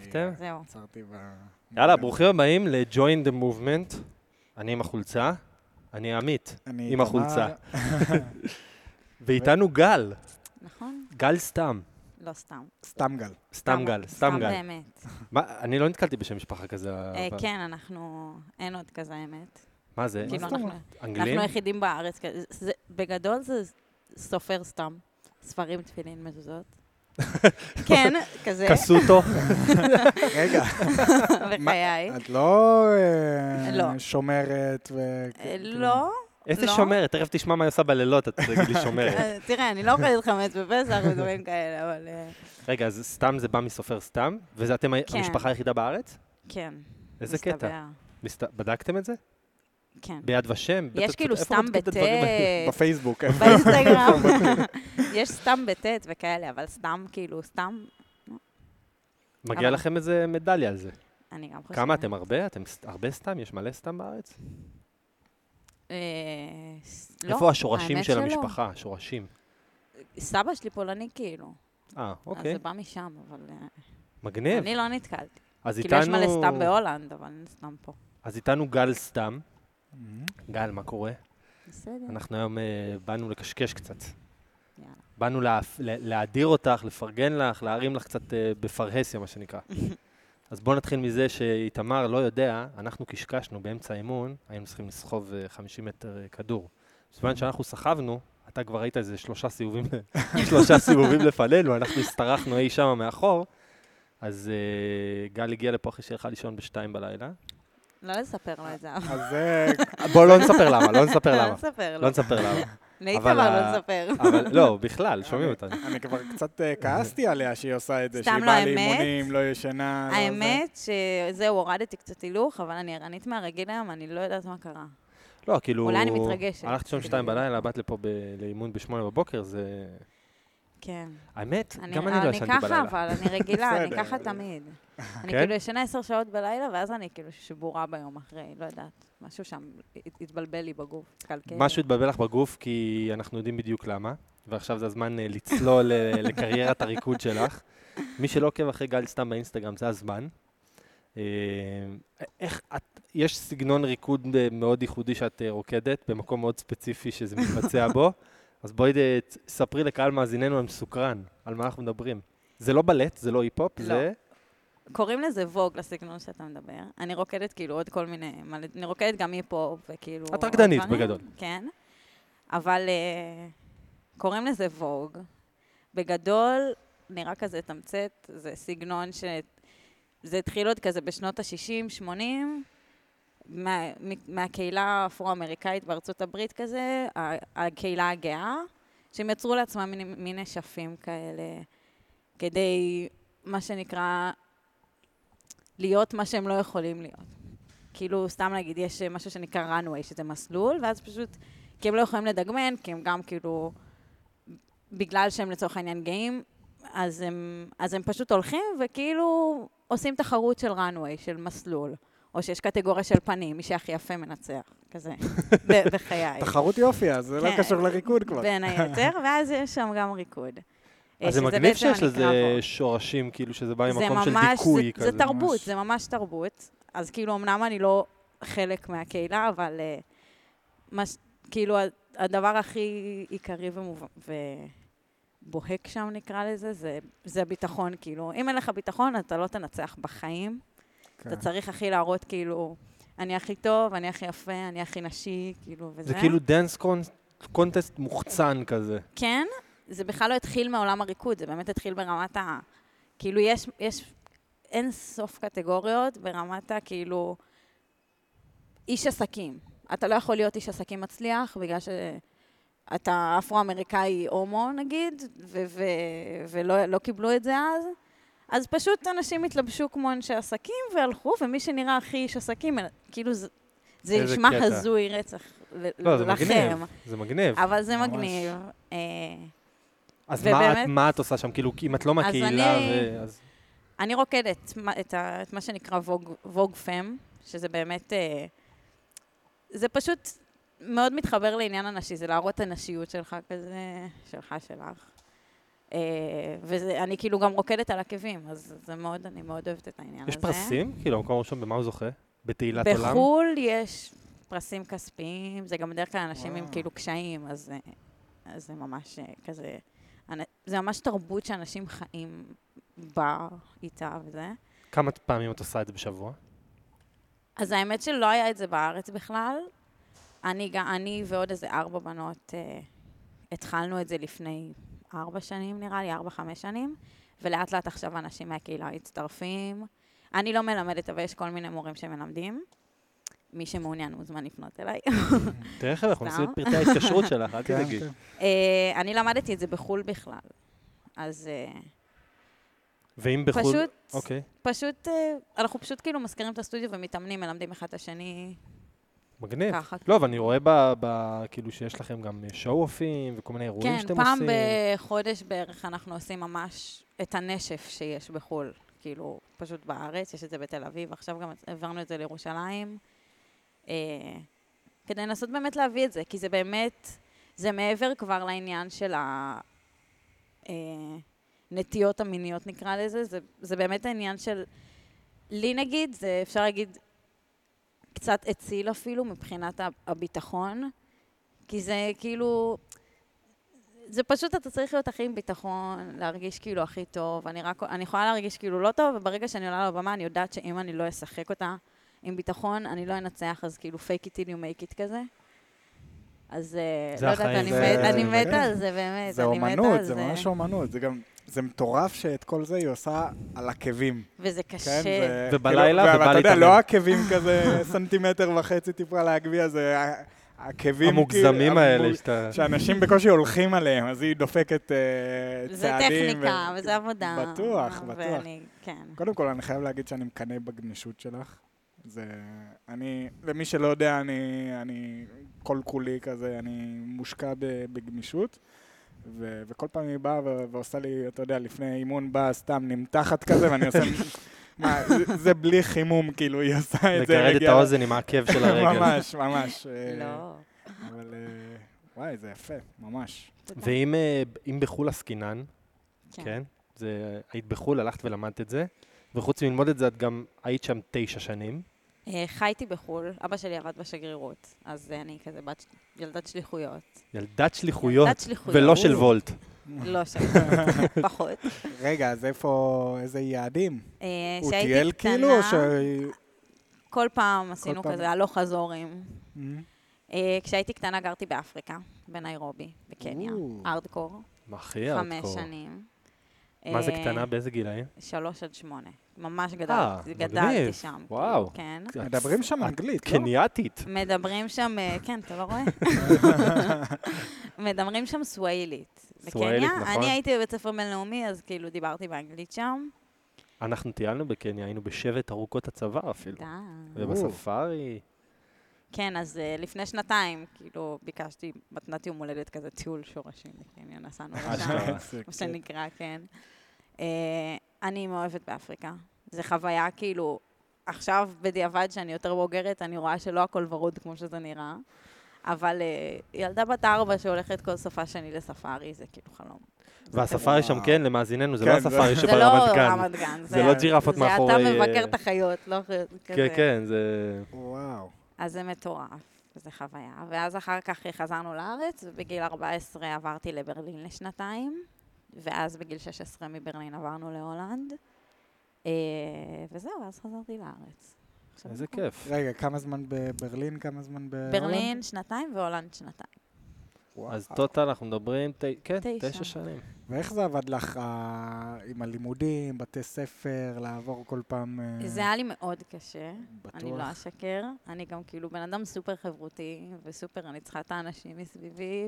הצלחתם? אה, זהו. עצרתי ב... יאללה, ברוכים הבאים ל-Join the Movement. אני עם החולצה, אני עמית אני עם תמר. החולצה. ואיתנו גל, נכון? גל סתם. לא סתם. לא, סתם גל. סתם גל, סתם גל. באמת. מה, אני לא נתקלתי בשם משפחה כזה. אה, אבל- אה, כן, אנחנו... אין עוד כזה האמת. מה זה? כאילו, זאת אנחנו אומרת? אנגלים? אנחנו היחידים בארץ. כזה. זה- בגדול זה סופר סתם. ספרים, תפילין, מזוזות. כן, כזה, קסוטו? רגע, בחיי. את לא אה, לא. שומרת ו... כאילו, אה, לא, איזה לא. שומרת? תכף תשמע מה היא עושה בלילות, את תגיד לי שומרת. אה, תראה, אני לא אוכלת חמץ בפסח ודברים כאלה, אבל אה, רגע, אז סתם זה בא מסופר סתם? ואתם כן. המשפחה היחידה בארץ? כן. איזה קטע. מסתבר, מסת- בדקתם את זה? כן. ביד ושם? יש בטח- כאילו איפה סתם מצאתם את בטט, הדברים האלה? כן. בפייסבוק. איפה? באינסטגרם. יש סתם בטט וכאלה, אבל סתם, כאילו, סתם, מגיע אבל- לכם איזה מדליה על זה. אני גם חושבת. כמה אתם? הרבה? אתם ס- הרבה סתם? יש מלא סתם בארץ? אה, ס- לא, איפה השורשים האמת של שלא. המשפחה? השורשים. סבא שלי פולני כאילו. אה, אז זה אוקיי. בא משם, אבל אה, מגניב. אני לא נתקלתי. אז כאילו, יש מלא סתם איתנו... בהולנד, אבל אין סתם פה. אז איתנו גל סתם. Mhm. גל, מה קורה? בסדר. אנחנו היום אה, באנו לקשקש קצת. יאללה. באנו להפ- ל- להאדיר אותך, לפרגן לך, להרים לך קצת אה, בפרהסיה, מה שנקרא. אז בואו נתחיל מזה שאיתמר לא יודע, אנחנו קשקשנו באמצע האימון, היינו צריכים לסחוב אה, 50 מטר אה, כדור. בזמן שאנחנו סחבנו, אתה כבר ראית איזה שלושה סיבובים, שלושה סיבובים לפנינו, אנחנו הסתרחנו אי שם מאחור. אז אה, גל הגיע לפה אחרי שהלכה לישון בשתיים בלילה. לא לספר לו את זה, אבל... אז אה, זה... בוא, לא נספר למה, לא נספר לא למה. נספר לו. לא נספר למה. לאיתמר אבל ה- לא נספר. אבל לא, בכלל, שומעים אני- אותנו. אני כבר קצת אה, כעסתי עליה שהיא עושה את זה, סתם שהיא לא באה האמת. לאימונים, לא ישנה. לא זה. האמת שזהו, הורדתי קצת הילוך, אבל אני ערנית מהרגיל היום, אני לא יודעת מה קרה. לא, כאילו... אולי אני מתרגשת. כאילו. הלכת לישון שתיים בלילה, באת לפה ב- לאימון בשמונה בבוקר, זה... כן. האמת, גם אני לא ישנתי אני ככה, בלילה. אבל אני רגילה, אני בסדר. ככה תמיד. אני כן? כאילו ישנה עשר שעות בלילה, ואז אני כאילו שבורה ביום אחרי, לא יודעת. משהו שם הת- התבלבל לי בגוף, התקלקל. לי. משהו התבלבל לך בגוף, כי אנחנו יודעים בדיוק למה, ועכשיו זה הזמן אה, לצלול אה, לקריירת הריקוד שלך. מי שלא עוקב אחרי גל סתם באינסטגרם, זה הזמן. אה, איך את... יש סגנון ריקוד אה, מאוד ייחודי שאת אה, רוקדת, במקום מאוד ספציפי שזה מתבצע בו, אז בואי אה, ת- ספרי לקהל מאזיננו המסוקרן, על מה אנחנו מדברים. זה לא בלט, זה לא היפ-הופ, לא. זה... קוראים לזה ווג, לסגנון שאתה מדבר. אני רוקדת כאילו עוד כל מיני... מלא- אני רוקדת גם היפ-הופ, וכאילו... את רקדנית, עוד דברים, בגדול. כן. אבל אה, קוראים לזה ווג. בגדול, נראה כזה תמצת, זה סגנון ש... זה התחיל עוד כזה בשנות ה-60, 80, מה, מ- מהקהילה האפרו-אמריקאית בארצות הברית כזה, ה- הקהילה הגאה, שהם יצרו לעצמם מין, מין נשפים כאלה, כדי, מה שנקרא, להיות מה שהם לא יכולים להיות. כאילו, סתם להגיד, יש אה, משהו שנקרא runway, שזה מסלול, ואז פשוט, כי הם לא יכולים לדגמן, כי הם גם כאילו, בגלל שהם לצורך העניין גאים, אז הם, אז הם פשוט הולכים וכאילו עושים תחרות של runway, של מסלול, או שיש קטגוריה של פנים, מי שהכי יפה מנצח, כזה, ב- בחיי. תחרות יופי, אז זה לא כן. קשור לריקוד כבר. בין היתר, ואז יש שם גם ריקוד. אה, אז זה שזה מגניב בעצם שיש הנקרא לזה וורק. שורשים, כאילו שזה בא זה ממקום של ממש- דיכוי זה, כזה. זה תרבות, ממש. זה ממש תרבות. אז כאילו, אמנם אני לא חלק מהקהילה, אבל אה, מה, ש- כאילו, ה- הדבר הכי עיקרי ומובהק ובוהק שם, נקרא לזה, זה, זה ביטחון, כאילו. אם אין לך ביטחון, אתה לא תנצח בחיים. כן. אתה צריך הכי להראות, כאילו, אני הכי טוב, אני הכי יפה, אני הכי נשי, כאילו, וזה. זה כאילו דאנס קונטסט מוחצן כזה. כן, זה בכלל לא התחיל מעולם הריקוד, זה באמת התחיל ברמת ה... כאילו, יש, יש אין סוף קטגוריות ברמת ה... כאילו, איש עסקים. אתה לא יכול להיות איש עסקים מצליח, בגלל שאתה אפרו-אמריקאי הומו, נגיד, ו- ו- ולא לא קיבלו את זה אז. אז פשוט אנשים התלבשו כמו אנשי עסקים והלכו, ומי שנראה הכי איש עסקים, כאילו, זה, זה איזה נשמע קטע. הזוי רצח ל- לא, זה לכם. מגניב. זה מגניב. אבל זה ממש. מגניב. אה, אז ובאמת- מה את- מה את עושה שם? כאילו, אם את לא מהקהילה, אני- ו- אז... אני רוקדת מה- את ה- את מה שנקרא ווג- ווג פם, שזה באמת... אה, זה פשוט מאוד מתחבר לעניין הנשי, זה להראות את הנשיות שלך כזה, שלך, שלך. אה, ואני כאילו גם רוקדת על עקבים, אז זה מאוד, אני מאוד אוהבת את העניין יש הזה. פרסים? כאילו, המקום הראשון, במה הוא זוכה? בתהילת עולם? בחו"ל יש פרסים כספיים, זה גם בדרך כלל אנשים עם וואו. כאילו קשיים, אז, אה, אז זה ממש אה, כזה... אנ- זה ממש תרבות שאנשים חיים בה, איתה וזה. כמה פעמים את עושה את זה בשבוע? אז האמת שלא היה את זה בארץ בכלל. אני, גם- אני ועוד איזה ארבע בנות אה, התחלנו את זה לפני ארבע שנים, נראה לי, ארבע, חמש שנים, ולאט לאט עכשיו אנשים מהקהילה מצטרפים. אני לא מלמדת, אבל יש כל מיני מורים שמלמדים. מי שמעוניין מוזמן לפנות אליי. תראה איך אנחנו סתם. עושים את פרטי ההתקשרות שלך, אל כן, תדאגי. כן. אה, אני למדתי את זה בחו"ל בכלל. אז אה, ואם בחו"ל... פשוט, אוקיי, פשוט, אה, אנחנו פשוט כאילו מזכירים את הסטודיו ומתאמנים, מלמדים אחד את השני מגניב. ככה. לא, אבל אני רואה ב... ב- כאילו שיש לכם גם שואו-אופים וכל מיני אירועים כן, שאתם פעם עושים. בחודש בערך אנחנו עושים ממש את הנשף שיש בחו"ל. כאילו, פשוט בארץ, יש את זה בתל אביב, עכשיו גם העברנו את זה לירושלים. אה, כדי לנסות באמת להביא את זה, כי זה באמת, זה מעבר כבר לעניין של הנטיות המיניות נקרא לזה, זה, זה באמת העניין של, לי נגיד, זה אפשר להגיד, קצת הציל אפילו מבחינת ה- הביטחון, כי זה כאילו, זה פשוט, אתה צריך להיות הכי עם ביטחון, להרגיש כאילו הכי טוב. אני, רק, אני יכולה להרגיש כאילו לא טוב, וברגע שאני עולה לבמה, אני יודעת שאם אני לא אשחק אותה עם ביטחון, אני לא אנצח, אז כאילו fake it till you make it כזה. אז אה, זה לא יודעת, החיים. אני, זה- מת, אני זה- מתה על זה, באמת. זה אני מתה אומנות, על זה ממש אומנות. זה גם, זה מטורף שאת כל זה היא עושה על עקבים. וזה כן, קשה. זה... ובלילה כאילו, ובא ואתה יודע, להתאמן. לא עקבים כזה סנטימטר וחצי טיפה להגביה, זה ה- עקבים... המוגזמים כאילו, האלה המוג- שאתה... שאנשים בקושי הולכים עליהם, אז היא דופקת אה, צעדים. זה טכניקה, וזה עבודה. בטוח, בטוח. ואני, כן. קודם כל, אני חייב להגיד שאני מקנא בגמישות שלך. זה... אני... למי שלא יודע, אני, אני כל-כולי כזה, אני מושקע ב, בגמישות. ו- וכל פעם היא באה ו- ועושה לי, אתה יודע, לפני אימון באה סתם נמתחת כזה, ואני עושה... מה, זה, זה בלי חימום, כאילו, היא עושה את זה. לגרד את רגיעה. האוזן עם העקב של הרגל. ממש, ממש. אה, לא. אבל אה, וואי, זה יפה, ממש. תודה. ואם אה, אם בחו"ל עסקינן, כן. כן? זה, היית בחו"ל, הלכת ולמדת את זה, וחוץ מללמוד את זה, את גם היית שם תשע שנים. אה, חייתי בחו"ל, אבא שלי עבד בשגרירות, אז אה, אני כזה בת, ילדת שליחויות. ילדת שליחויות, ילדת שליחויות. ולא של וולט. לא שם, פחות. רגע, אז איפה, איזה יעדים? אה, הוא שהייתי טייל קטנה, כאילו, או שהיא... כל פעם עשינו פעם. כזה הלוך חזורים. אה, כשהייתי קטנה גרתי באפריקה, בניירובי, בקניה. או. ארדקור, מה, אחי, חמש הארדקור. שנים. מה זה אה, קטנה? באיזה גילאים? שלוש עד שמונה. ממש אה, גדלתי, מגניב. גדלתי שם. וואו. כן. מדברים שם אנגלית, לא? קנייתית. מדברים שם, אה, כן, אתה לא רואה? מדברים שם סוואילית. סוואילית, בקניה, נכון. אה, אני הייתי בבית ספר בינלאומי, אז כאילו דיברתי באנגלית שם. אנחנו טיילנו בקניה, היינו בשבט ארוכות הצבא אפילו. די. ובספארי. כן, אז אה, לפני שנתיים, כאילו, ביקשתי מתנת יום הולדת כזה טיול שורשים בקניה, נסענו לשם, אשכרה. זה מה כיף. שנקרא, כן. אה, אני מאוהבת באפריקה. זו חוויה, כאילו, עכשיו, בדיעבד, שאני יותר בוגרת, אני רואה שלא הכל ורוד כמו שזה נראה. אבל אה, ילדה בת ארבע שהולכת כל סופה שני לספארי, זה כאילו חלום. והספארי שם, כן, למאזיננו, זה לא כן, הספארי זה- זה לא שברמת גן. רמת גן. זה לא ג'ירפות מאחורי, זה אה, אתה מבקר את החיות, לא אחרת, כזה. כן, כן, זה... וואו. אז זה מטורף, זה חוויה. ואז אחר כך חזרנו לארץ, ובגיל 14 עברתי לברלין לשנתיים, ואז בגיל 16 מברלין עברנו להולנד, אה, וזהו, אז חזרתי לארץ. עכשיו איזה אנחנו- כיף. אה, רגע, כמה זמן בברלין, כמה זמן בהולנד? ברלין שנתיים והולנד שנתיים. וואו. אז טוטל, אנחנו מדברים, ת- כן, תשע. תשע שנים. ואיך זה עבד לך אה, עם הלימודים, בתי ספר, לעבור כל פעם... אה, זה היה לי מאוד קשה. בטוח. אני לא אשקר, אני גם כאילו בן אדם סופר חברותי, וסופר אני צריכה את האנשים מסביבי,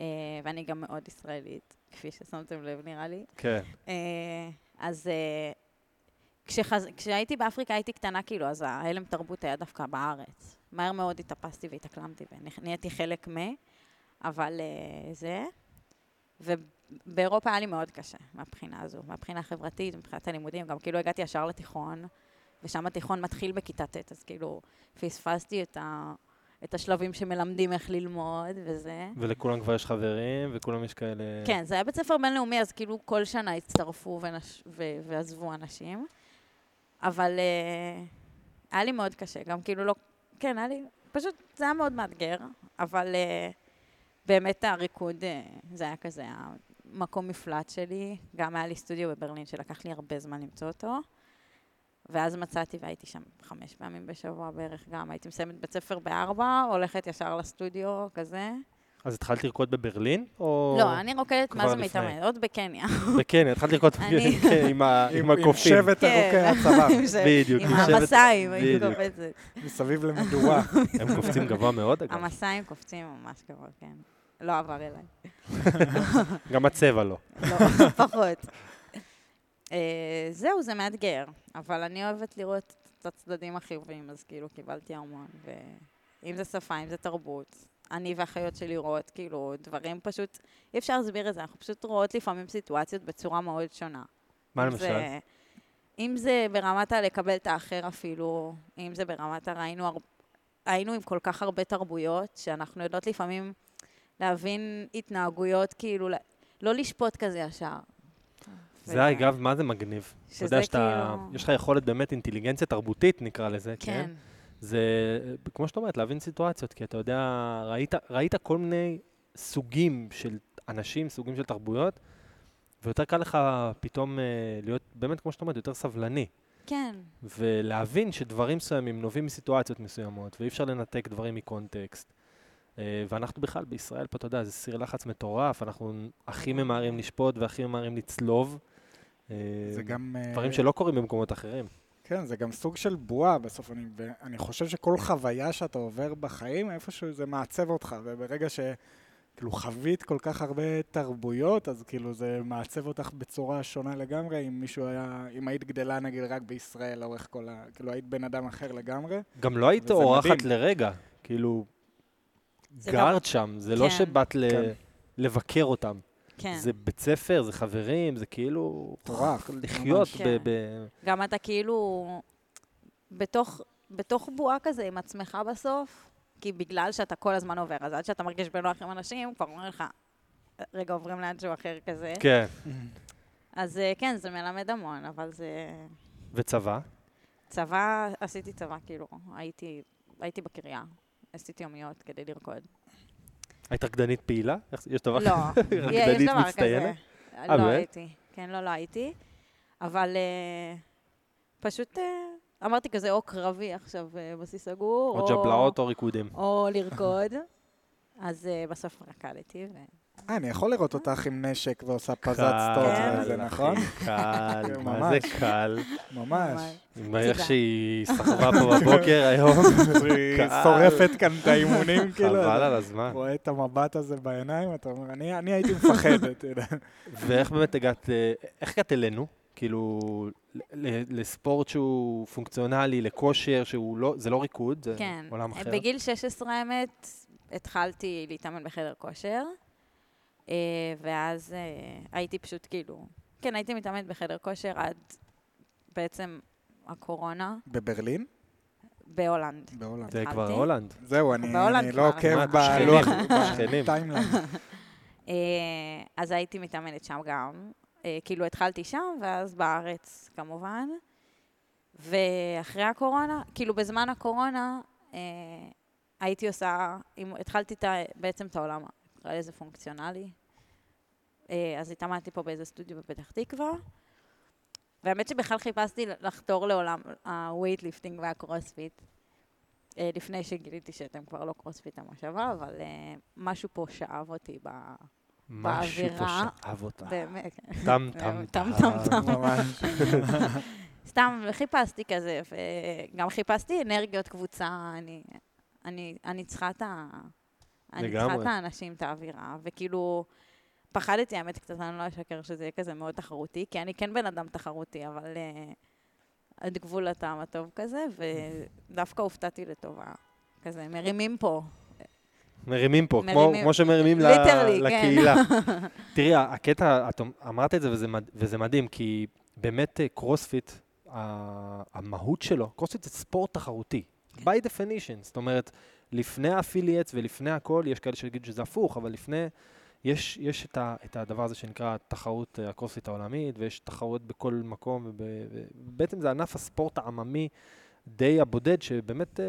אה, ואני גם מאוד ישראלית, כפי ששמתם לב נראה לי. כן. אה, אז אה, כשחז... כשהייתי באפריקה הייתי קטנה כאילו, אז ההלם תרבות היה דווקא בארץ. מהר מאוד התאפסתי והתאקלמתי ונהייתי חלק מ... אבל אה, זה... ובאירופה היה לי מאוד קשה מהבחינה הזו, מהבחינה החברתית, מבחינת הלימודים. גם כאילו הגעתי ישר לתיכון, ושם התיכון מתחיל בכיתה ט', אז כאילו פספסתי את, ה... את השלבים שמלמדים איך ללמוד וזה. ולכולם כבר יש חברים, וכולם יש כאלה... כן, זה היה בית ספר בינלאומי, אז כאילו כל שנה הצטרפו ונש... ו... ועזבו אנשים. אבל אה, היה לי מאוד קשה, גם כאילו לא... כן, היה לי... פשוט זה היה מאוד מאתגר, אבל אה, באמת הריקוד, אה, זה היה כזה המקום מפלט שלי. גם היה לי סטודיו בברלין שלקח לי הרבה זמן למצוא אותו. ואז מצאתי והייתי שם חמש פעמים בשבוע בערך גם. הייתי מסיימת בית ספר בארבע, הולכת ישר לסטודיו, כזה. אז התחלת לרקוד בברלין? או... לא, אני רוקדת מה כבר זה לפני. מתאמן, עוד בקניה. וכן, התחלת לרקוד אני- כן, עם ה- עם הקופים. עם שבט כן. ארוכי הצבא, עם ש- בדיוק. עם שבט- המסיים, הייתי בדיוק. קופצת. מסביב למדורה. הם קופצים גבוה מאוד, אגב. המסיים קופצים ממש גבוה, כן. לא עבר אליי. גם הצבע לא. לא, פחות. אה, זהו, זה מאתגר, אבל אני אוהבת לראות את הצדדים החיוביים, אז כאילו קיבלתי המון, ואם זה שפה, אם זה תרבות, אני והאחיות שלי רואות כאילו דברים פשוט, אי אפשר להסביר את זה, אנחנו פשוט רואות לפעמים סיטואציות בצורה מאוד שונה. מה אם למשל? זה- אם זה ברמת הלקבל את האחר אפילו, אם זה ברמת הראינו הר... היינו עם כל כך הרבה תרבויות, שאנחנו יודעות לפעמים להבין התנהגויות, כאילו, ל- לא לשפוט כזה ישר. זה אגב, מה זה מגניב. אתה יודע שזה שאתה, כאילו- יש לך יכולת באמת אינטליגנציה תרבותית, נקרא לזה, כן? כן, זה, כמו שאת אומרת, להבין סיטואציות, כי אתה יודע, ראית, ראית כל מיני סוגים של אנשים, סוגים של תרבויות, ויותר קל לך פתאום אה, להיות, באמת, כמו שאת אומרת, יותר סבלני, כן, ולהבין שדברים מסוימים נובעים מסיטואציות מסוימות, ואי אפשר לנתק דברים מקונטקסט. אה, ואנחנו בכלל בישראל פה, אתה יודע, זה סיר לחץ מטורף, אנחנו הכי ממהרים לשפוט והכי ממהרים לצלוב. אה, זה גם... אה, דברים שלא קורים במקומות אחרים. כן, זה גם סוג של בועה בסוף. אני, אני חושב שכל חוויה שאתה עובר בחיים, איפשהו זה מעצב אותך, וברגע ש... כאילו חווית כל כך הרבה תרבויות, אז כאילו זה מעצב אותך בצורה שונה לגמרי, אם מישהו היה, אם היית גדלה נגיד רק בישראל לאורך כל ה... כאילו היית בן אדם אחר לגמרי. גם לא היית וזה אורחת מדהים. לרגע, כאילו, זה גם- גרת שם, זה לא כן. שבאת ל- כן. לבקר אותם. כן. זה בית ספר, זה חברים, זה כאילו... מטורף, לחיות ממש. ב... כן. ב- גם אתה כאילו בתוך, בתוך בועה כזה עם עצמך בסוף, כי בגלל שאתה כל הזמן עובר, אז עד שאתה מרגיש בנוח עם אנשים, כבר אומרים לך, רגע, עוברים לאנשהו אחר כזה. כן. אז אה, כן, זה מלמד המון, אבל זה... וצבא? צבא, עשיתי צבא, כאילו, הייתי, הייתי בקריה, עשיתי יומיות כדי לרקוד. היית רקדנית פעילה? איך- יש דבר לא, יש רקדנית דבר כזה. מצטיינת? אה, לא באמת? הייתי, כן, לא, לא הייתי, אבל אה, פשוט אה, אמרתי כזה, או קרבי עכשיו אה, בסיס סגור, או ג'בלאות או ריקודים. או לרקוד. אז אה, בסוף רקדתי, ו... אה, אני יכול לראות אותך עם נשק ועושה פזצת כן. סטוץ אחי, וזה, נכון? כן, קל, מה זה ממש. קל. ממש. עם איך צידה. שהיא סחבה פה בבוקר היום, היא קל. שורפת כאן את האימונים, כאילו. חבל אתה על הזמן. רואה את המבט הזה בעיניים, אתה אומר, "אני- אני הייתי מפחדת. אתה יודע. ואיך באמת הגעת, אה, איך הגעת אלינו? כאילו, ל- ל- לספורט שהוא פונקציונלי, לכושר, שהוא לא, זה לא ריקוד, זה כן. עולם אחר. בגיל 16, האמת, התחלתי להתאמן בחדר כושר, אה, ואז אה, הייתי פשוט כאילו... כן, הייתי מתאמנת בחדר כושר עד בעצם הקורונה בברלין? בהולנד. בהולנד. זה כבר התחלתי. הולנד. זהו, אני בהולנד אני כבר. לא עוקב לא- כמעט, בלוח, שכנים, שכנים. בטיימליין. אה, אז הייתי מתאמנת שם גם. אה, כאילו התחלתי שם, ואז בארץ כמובן. ואחרי הקורונה, כאילו בזמן הקורונה, אה, הייתי עושה, אם, התחלתי את, ה- בעצם את העולם, נקרא לזה פונקציונלי. אה, אז התאמנתי פה באיזה סטודיו בפתח תקווה. והאמת שבכלל חיפשתי לחתור לעולם הווייטליפטינג והקרוספיט. אה, לפני שגיליתי שאתם כבר לא קרוספיט המושבה, אבל אה, משהו פה שאב אותי ב... משהו פה באווירה. שאב אותה. באמת. טם טם טם. טם, טם, טם. ממש. סתם חיפשתי כזה, וגם חיפשתי אנרגיות קבוצה, אני, אני, אני צריכה את ה... אני צריכה לגמרי. את האנשים, את האווירה, וכאילו, פחדתי, האמת, קצת, אני לא אשקר שזה יהיה כזה מאוד תחרותי, כי אני כן בן אדם תחרותי, אבל אה, עד גבול הטעם הטוב כזה, ודווקא הופתעתי לטובה. כזה, מרימים פה. מרימים פה, כמו, מרימים- כמו שמרימים ל- Literally, כן. לקהילה. תראי, הקטע, את אמ- אמרת את זה וזה, מד- וזה מדהים, כי באמת אה, קרוספיט, כן. ה- המהות שלו, קרוספיט זה ספורט תחרותי, by definition, זאת אומרת, לפני האפילייטס ולפני הכל, יש כאלה שיגידו שזה הפוך, אבל לפני, יש, יש את, ה, את הדבר הזה שנקרא תחרות אה, הקרוספיט העולמית, ויש תחרויות בכל מקום, ובעצם זה ענף הספורט העממי די הבודד, שבאמת אה,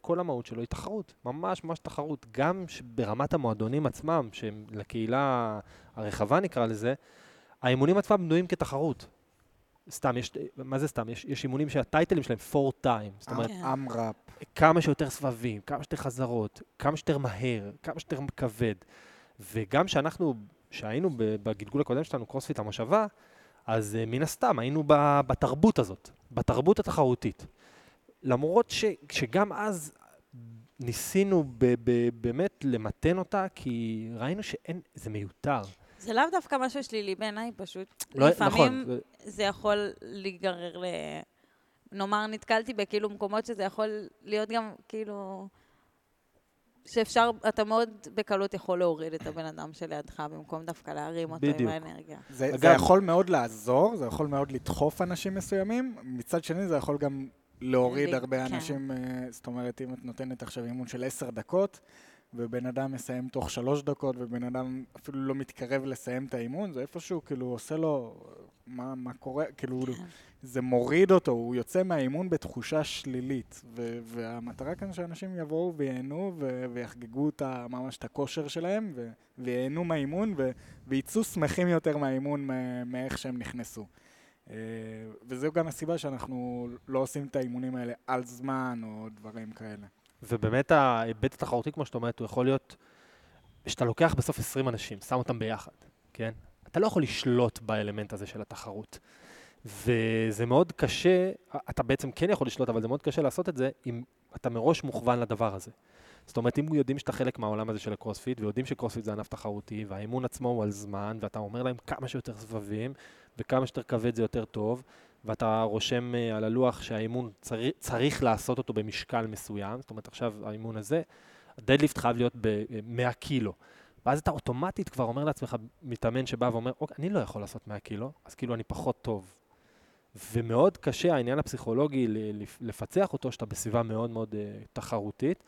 כל המהות שלו היא תחרות, ממש ממש תחרות, גם ש- ברמת המועדונים עצמם, שהם לקהילה הרחבה נקרא לזה, האימונים עצמם בנויים כתחרות. סתם, יש, מה זה סתם? יש, יש אימונים שהטייטלים שלהם 4 time, זאת אומרת, כן. אמראפ. כמה שיותר סבבים, כמה שיותר חזרות, כמה שיותר מהר, כמה שיותר כבד. וגם שאנחנו, שהיינו ב- בגלגול הקודם שלנו, קרוספיט המושבה, אז אה, מן הסתם היינו ב- בתרבות הזאת, בתרבות התחרותית. למרות ש, שגם אז ניסינו ב, ב, באמת למתן אותה, כי ראינו שאין, זה מיותר. זה לאו דווקא משהו שלילי בעיניי, פשוט לא, לפעמים- נכון, זה- זה יכול להיגרר ל... נאמר, נתקלתי בכאילו מקומות שזה יכול להיות גם כאילו... שאפשר, אתה מאוד בקלות יכול להוריד את הבן אדם שלידך במקום דווקא להרים אותו עם בדיוק. האנרגיה. זה, זה אגב- יכול מאוד לעזור, זה יכול מאוד לדחוף אנשים מסוימים, מצד שני זה יכול גם להוריד ל- הרבה כן. אנשים, אה, זאת אומרת, אם את נותנת עכשיו אימון של עשר דקות, ובן אדם מסיים תוך שלוש דקות, ובן אדם אפילו לא מתקרב לסיים את האימון, זה איפשהו כאילו עושה לו, מה, מה קורה, כאילו כן. זה מוריד אותו, הוא יוצא מהאימון בתחושה שלילית, ו- והמטרה כאן שאנשים יבואו וייהנו ו- ויחגגו את ה- ממש את הכושר שלהם, ו- וייהנו מהאימון, ו- ויצאו שמחים יותר מהאימון מ- מאיך שהם נכנסו. אה, וזו גם הסיבה שאנחנו לא עושים את האימונים האלה על זמן או דברים כאלה. ובאמת ההיבט התחרותי, כמו שאת אומרת, הוא יכול להיות שאתה לוקח בסוף 20 אנשים, שם אותם ביחד, כן? אתה לא יכול לשלוט באלמנט הזה של התחרות. וזה מאוד קשה, אתה בעצם כן יכול לשלוט, אבל זה מאוד קשה לעשות את זה אם אתה מראש מוכוון לדבר הזה. זאת אומרת, אם יודעים שאתה חלק מהעולם הזה של הקרוספיט, ויודעים שקרוספיט זה ענף תחרותי, והאימון עצמו הוא על זמן, ואתה אומר להם כמה שיותר סבבים, וכמה שיותר כבד זה יותר טוב, ואתה רושם אה, על הלוח שהאימון צריך, צריך לעשות אותו במשקל מסוים, זאת אומרת, עכשיו האימון הזה, הדדליפט חייב להיות ב-100 קילו. ואז אתה אוטומטית כבר אומר לעצמך, מתאמן שבא ואומר, אוקיי, אני לא יכול לעשות 100 קילו, אז כאילו אני פחות טוב. ומאוד קשה העניין הפסיכולוגי ל- לפ- לפצח אותו, שאתה בסביבה מאוד מאוד אה, תחרותית.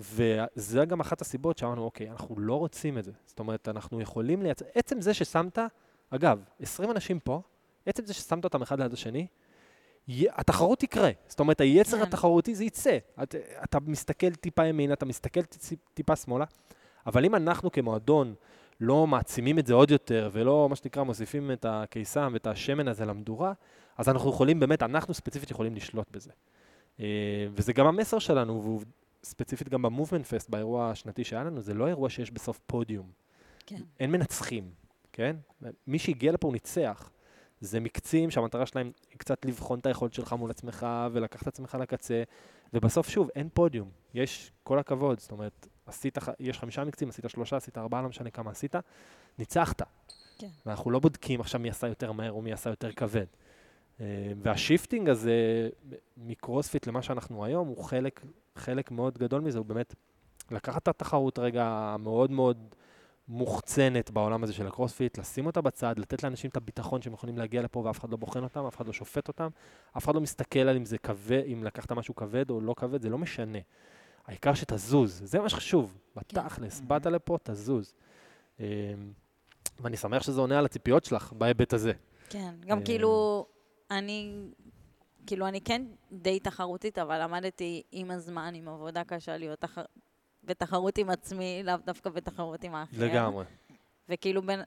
וזה גם אחת הסיבות שאמרנו, אוקיי, אנחנו לא רוצים את זה. זאת אומרת, אנחנו יכולים לייצר... עצם זה ששמת, אגב, 20 אנשים פה, עצם זה ששמת אותם אחד ליד השני, י- התחרות תקרה. זאת אומרת, היצר כן. התחרותי זה יצא. את, אתה מסתכל טיפה ימינה, אתה מסתכל טיפ- טיפה שמאלה, אבל אם אנחנו כמועדון לא מעצימים את זה עוד יותר, ולא, מה שנקרא, מוסיפים את הקיסם ואת השמן הזה למדורה, אז אנחנו יכולים, באמת, אנחנו ספציפית יכולים לשלוט בזה. אה, וזה גם המסר שלנו, והוא ספציפית גם במובמנט פסט, באירוע השנתי שהיה לנו, זה לא אירוע שיש בסוף פודיום. כן. אין מנצחים, כן? מי שהגיע לפה הוא ניצח. זה מקצים שהמטרה שלהם היא קצת לבחון את היכולת שלך מול עצמך ולקחת את עצמך לקצה, ובסוף, שוב, אין פודיום. יש כל הכבוד, זאת אומרת, עשית, ח- יש חמישה מקצים, עשית שלושה, עשית ארבעה, לא משנה כמה עשית, ניצחת. כן. ואנחנו לא בודקים עכשיו מי עשה יותר מהר או מי עשה יותר כבד. אה, והשיפטינג הזה מקרוספיט למה שאנחנו היום, הוא חלק, חלק מאוד גדול מזה, הוא באמת לקחת את התחרות רגע המאוד מאוד מוחצנת בעולם הזה של הקרוספיט, לשים אותה בצד, לתת לאנשים את הביטחון שהם יכולים להגיע לפה ואף אחד לא בוחן אותם, אף אחד לא שופט אותם, אף אחד לא מסתכל על אם זה כבד, אם לקחת משהו כבד או לא כבד, זה לא משנה. העיקר שתזוז, זה מה שחשוב, בתכלס, באת לפה, תזוז. אה, ואני שמח שזה עונה על הציפיות שלך בהיבט הזה. כן, גם אה, כאילו, אני, כאילו, אני כן די תחרותית, אבל למדתי עם הזמן, עם עבודה קשה, להיות תח... בתחרות עם עצמי, לאו דווקא בתחרות עם האחר. לגמרי. וכאילו, בין,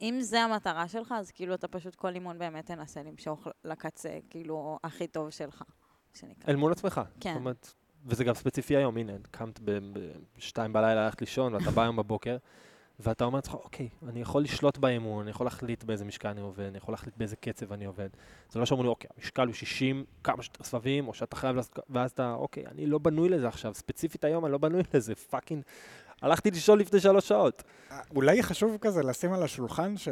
אם זה המטרה שלך, אז כאילו אתה פשוט כל אימון באמת תנסה למשוך לקצה, כאילו, הכי טוב שלך, מה שנקרא. אל מול עצמך. כן. זאת אומרת, וזה גם ספציפי היום, הנה, קמת ב-2 בלילה, הלכת לישון, ואתה בא היום בבוקר, ואתה אומר לעצמך, אוקיי, אני יכול לשלוט באימון, אני יכול להחליט באיזה משקל אני עובד, אני יכול להחליט באיזה קצב אני עובד. זה לא שאומרים לי, אוקיי, המשקל הוא 60, כמה שיותר סבבים, או שאתה חייב לעשות, כ- ואז אתה, אוקיי, אני לא בנוי לזה עכשיו, ספציפית היום אני לא בנוי לזה, פאקינג, הלכתי לישון לפני שלוש שעות. אה, אולי חשוב כזה לשים על השולחן ש...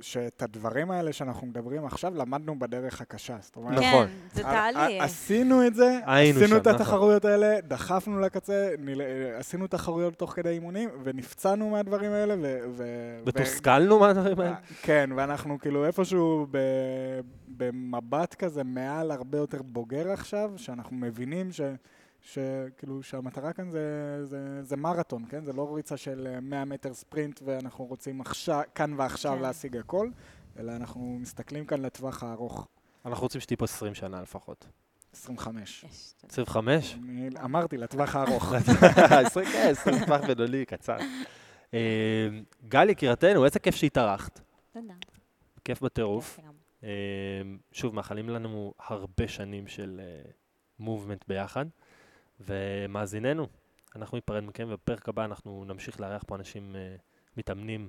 שאת הדברים האלה שאנחנו מדברים עכשיו למדנו בדרך הקשה. זאת אומרת, נכון. כן, זה ע- ע- תהליך. אה, עשינו את זה, היינו עשינו שם, את נכון. התחרויות האלה, דחפנו לקצה, ניל- אה, עשינו תחרויות תוך כדי אימונים, ונפצענו מהדברים האלה, ו... ו- ותוסכלנו מהדברים ו- האלה? כן, ואנחנו כאילו איפשהו ב... במבט כזה מעל הרבה יותר בוגר עכשיו, שאנחנו מבינים ש... שכאילו שהמטרה כאן זה, זה, זה מרתון, כן? זה לא ריצה של אה, 100 מטר ספרינט ואנחנו רוצים עכשיו, כאן ועכשיו כן. להשיג הכל, אלא אנחנו מסתכלים כאן לטווח הארוך, אנחנו רוצים שתהיי פה 20 שנה לפחות. 25. יש, אתה יודע. 25? אני אמרתי, לטווח הארוך. 20, כן, 20 טווח בינוני, קצר. אה, גל יקירתנו, איזה כיף שהתארחת. תודה. כיף בטירוף. כיף גם. אה, שוב, מאחלים לנו הרבה שנים של מובמנט ביחד. ומאזיננו, אנחנו ניפרד מכם, ובפרק הבא אנחנו נמשיך לארח פה אנשים אה, מתאמנים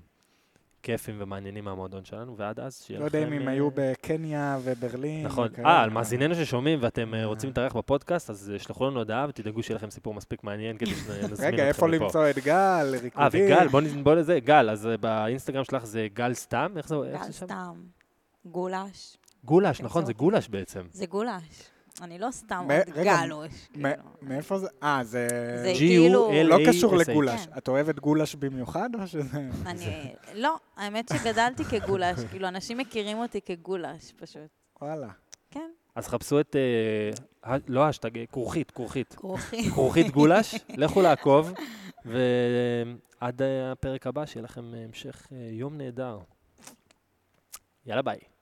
כיפים ומעניינים מהמועדון שלנו, ועד אז שיהיה לא לכם... יודע אם הם אה, היו בקניה וברלין. נכון. וכאלה. אה, על מאזיננו ששומעים ואתם אה, אה. רוצים להתארח בפודקאסט, אז אה, שלחו לנו הודעה ותדאגו שיהיה לכם סיפור מספיק מעניין כדי שנזמין אתכם לפה. רגע, איפה למצוא את גל, אה, ריקודים? וגל, בוא נ- בוא לזה, גל, אז אה, באינסטגרם שלך זה גל סתם? איך זה איך גל זה שם? סתם. כן, גולש. גולש, נכון, זה תמצאו. גולש בעצם. זה גולש. אני לא סתם מ- עוד רגע, גלוש. מ- כאילו. מאיפה זה? אה, זה... זה G-U-L-A-S-H. כאילו- לא קשור לגולש. כן. את אוהבת גולש במיוחד או שזה... אני... לא, האמת שגדלתי כגולש. כאילו, אנשים מכירים אותי כגולש, פשוט. וואלה. כן, אז חפשו את, אה, ה- לא אשטג, כרוכית, כרוכית. כרוכי. כרוכית גולש, לכו לעקוב, ועד אה, הפרק הבא, שיהיה לכם אה, המשך אה, יום נהדר. יאללה, ביי.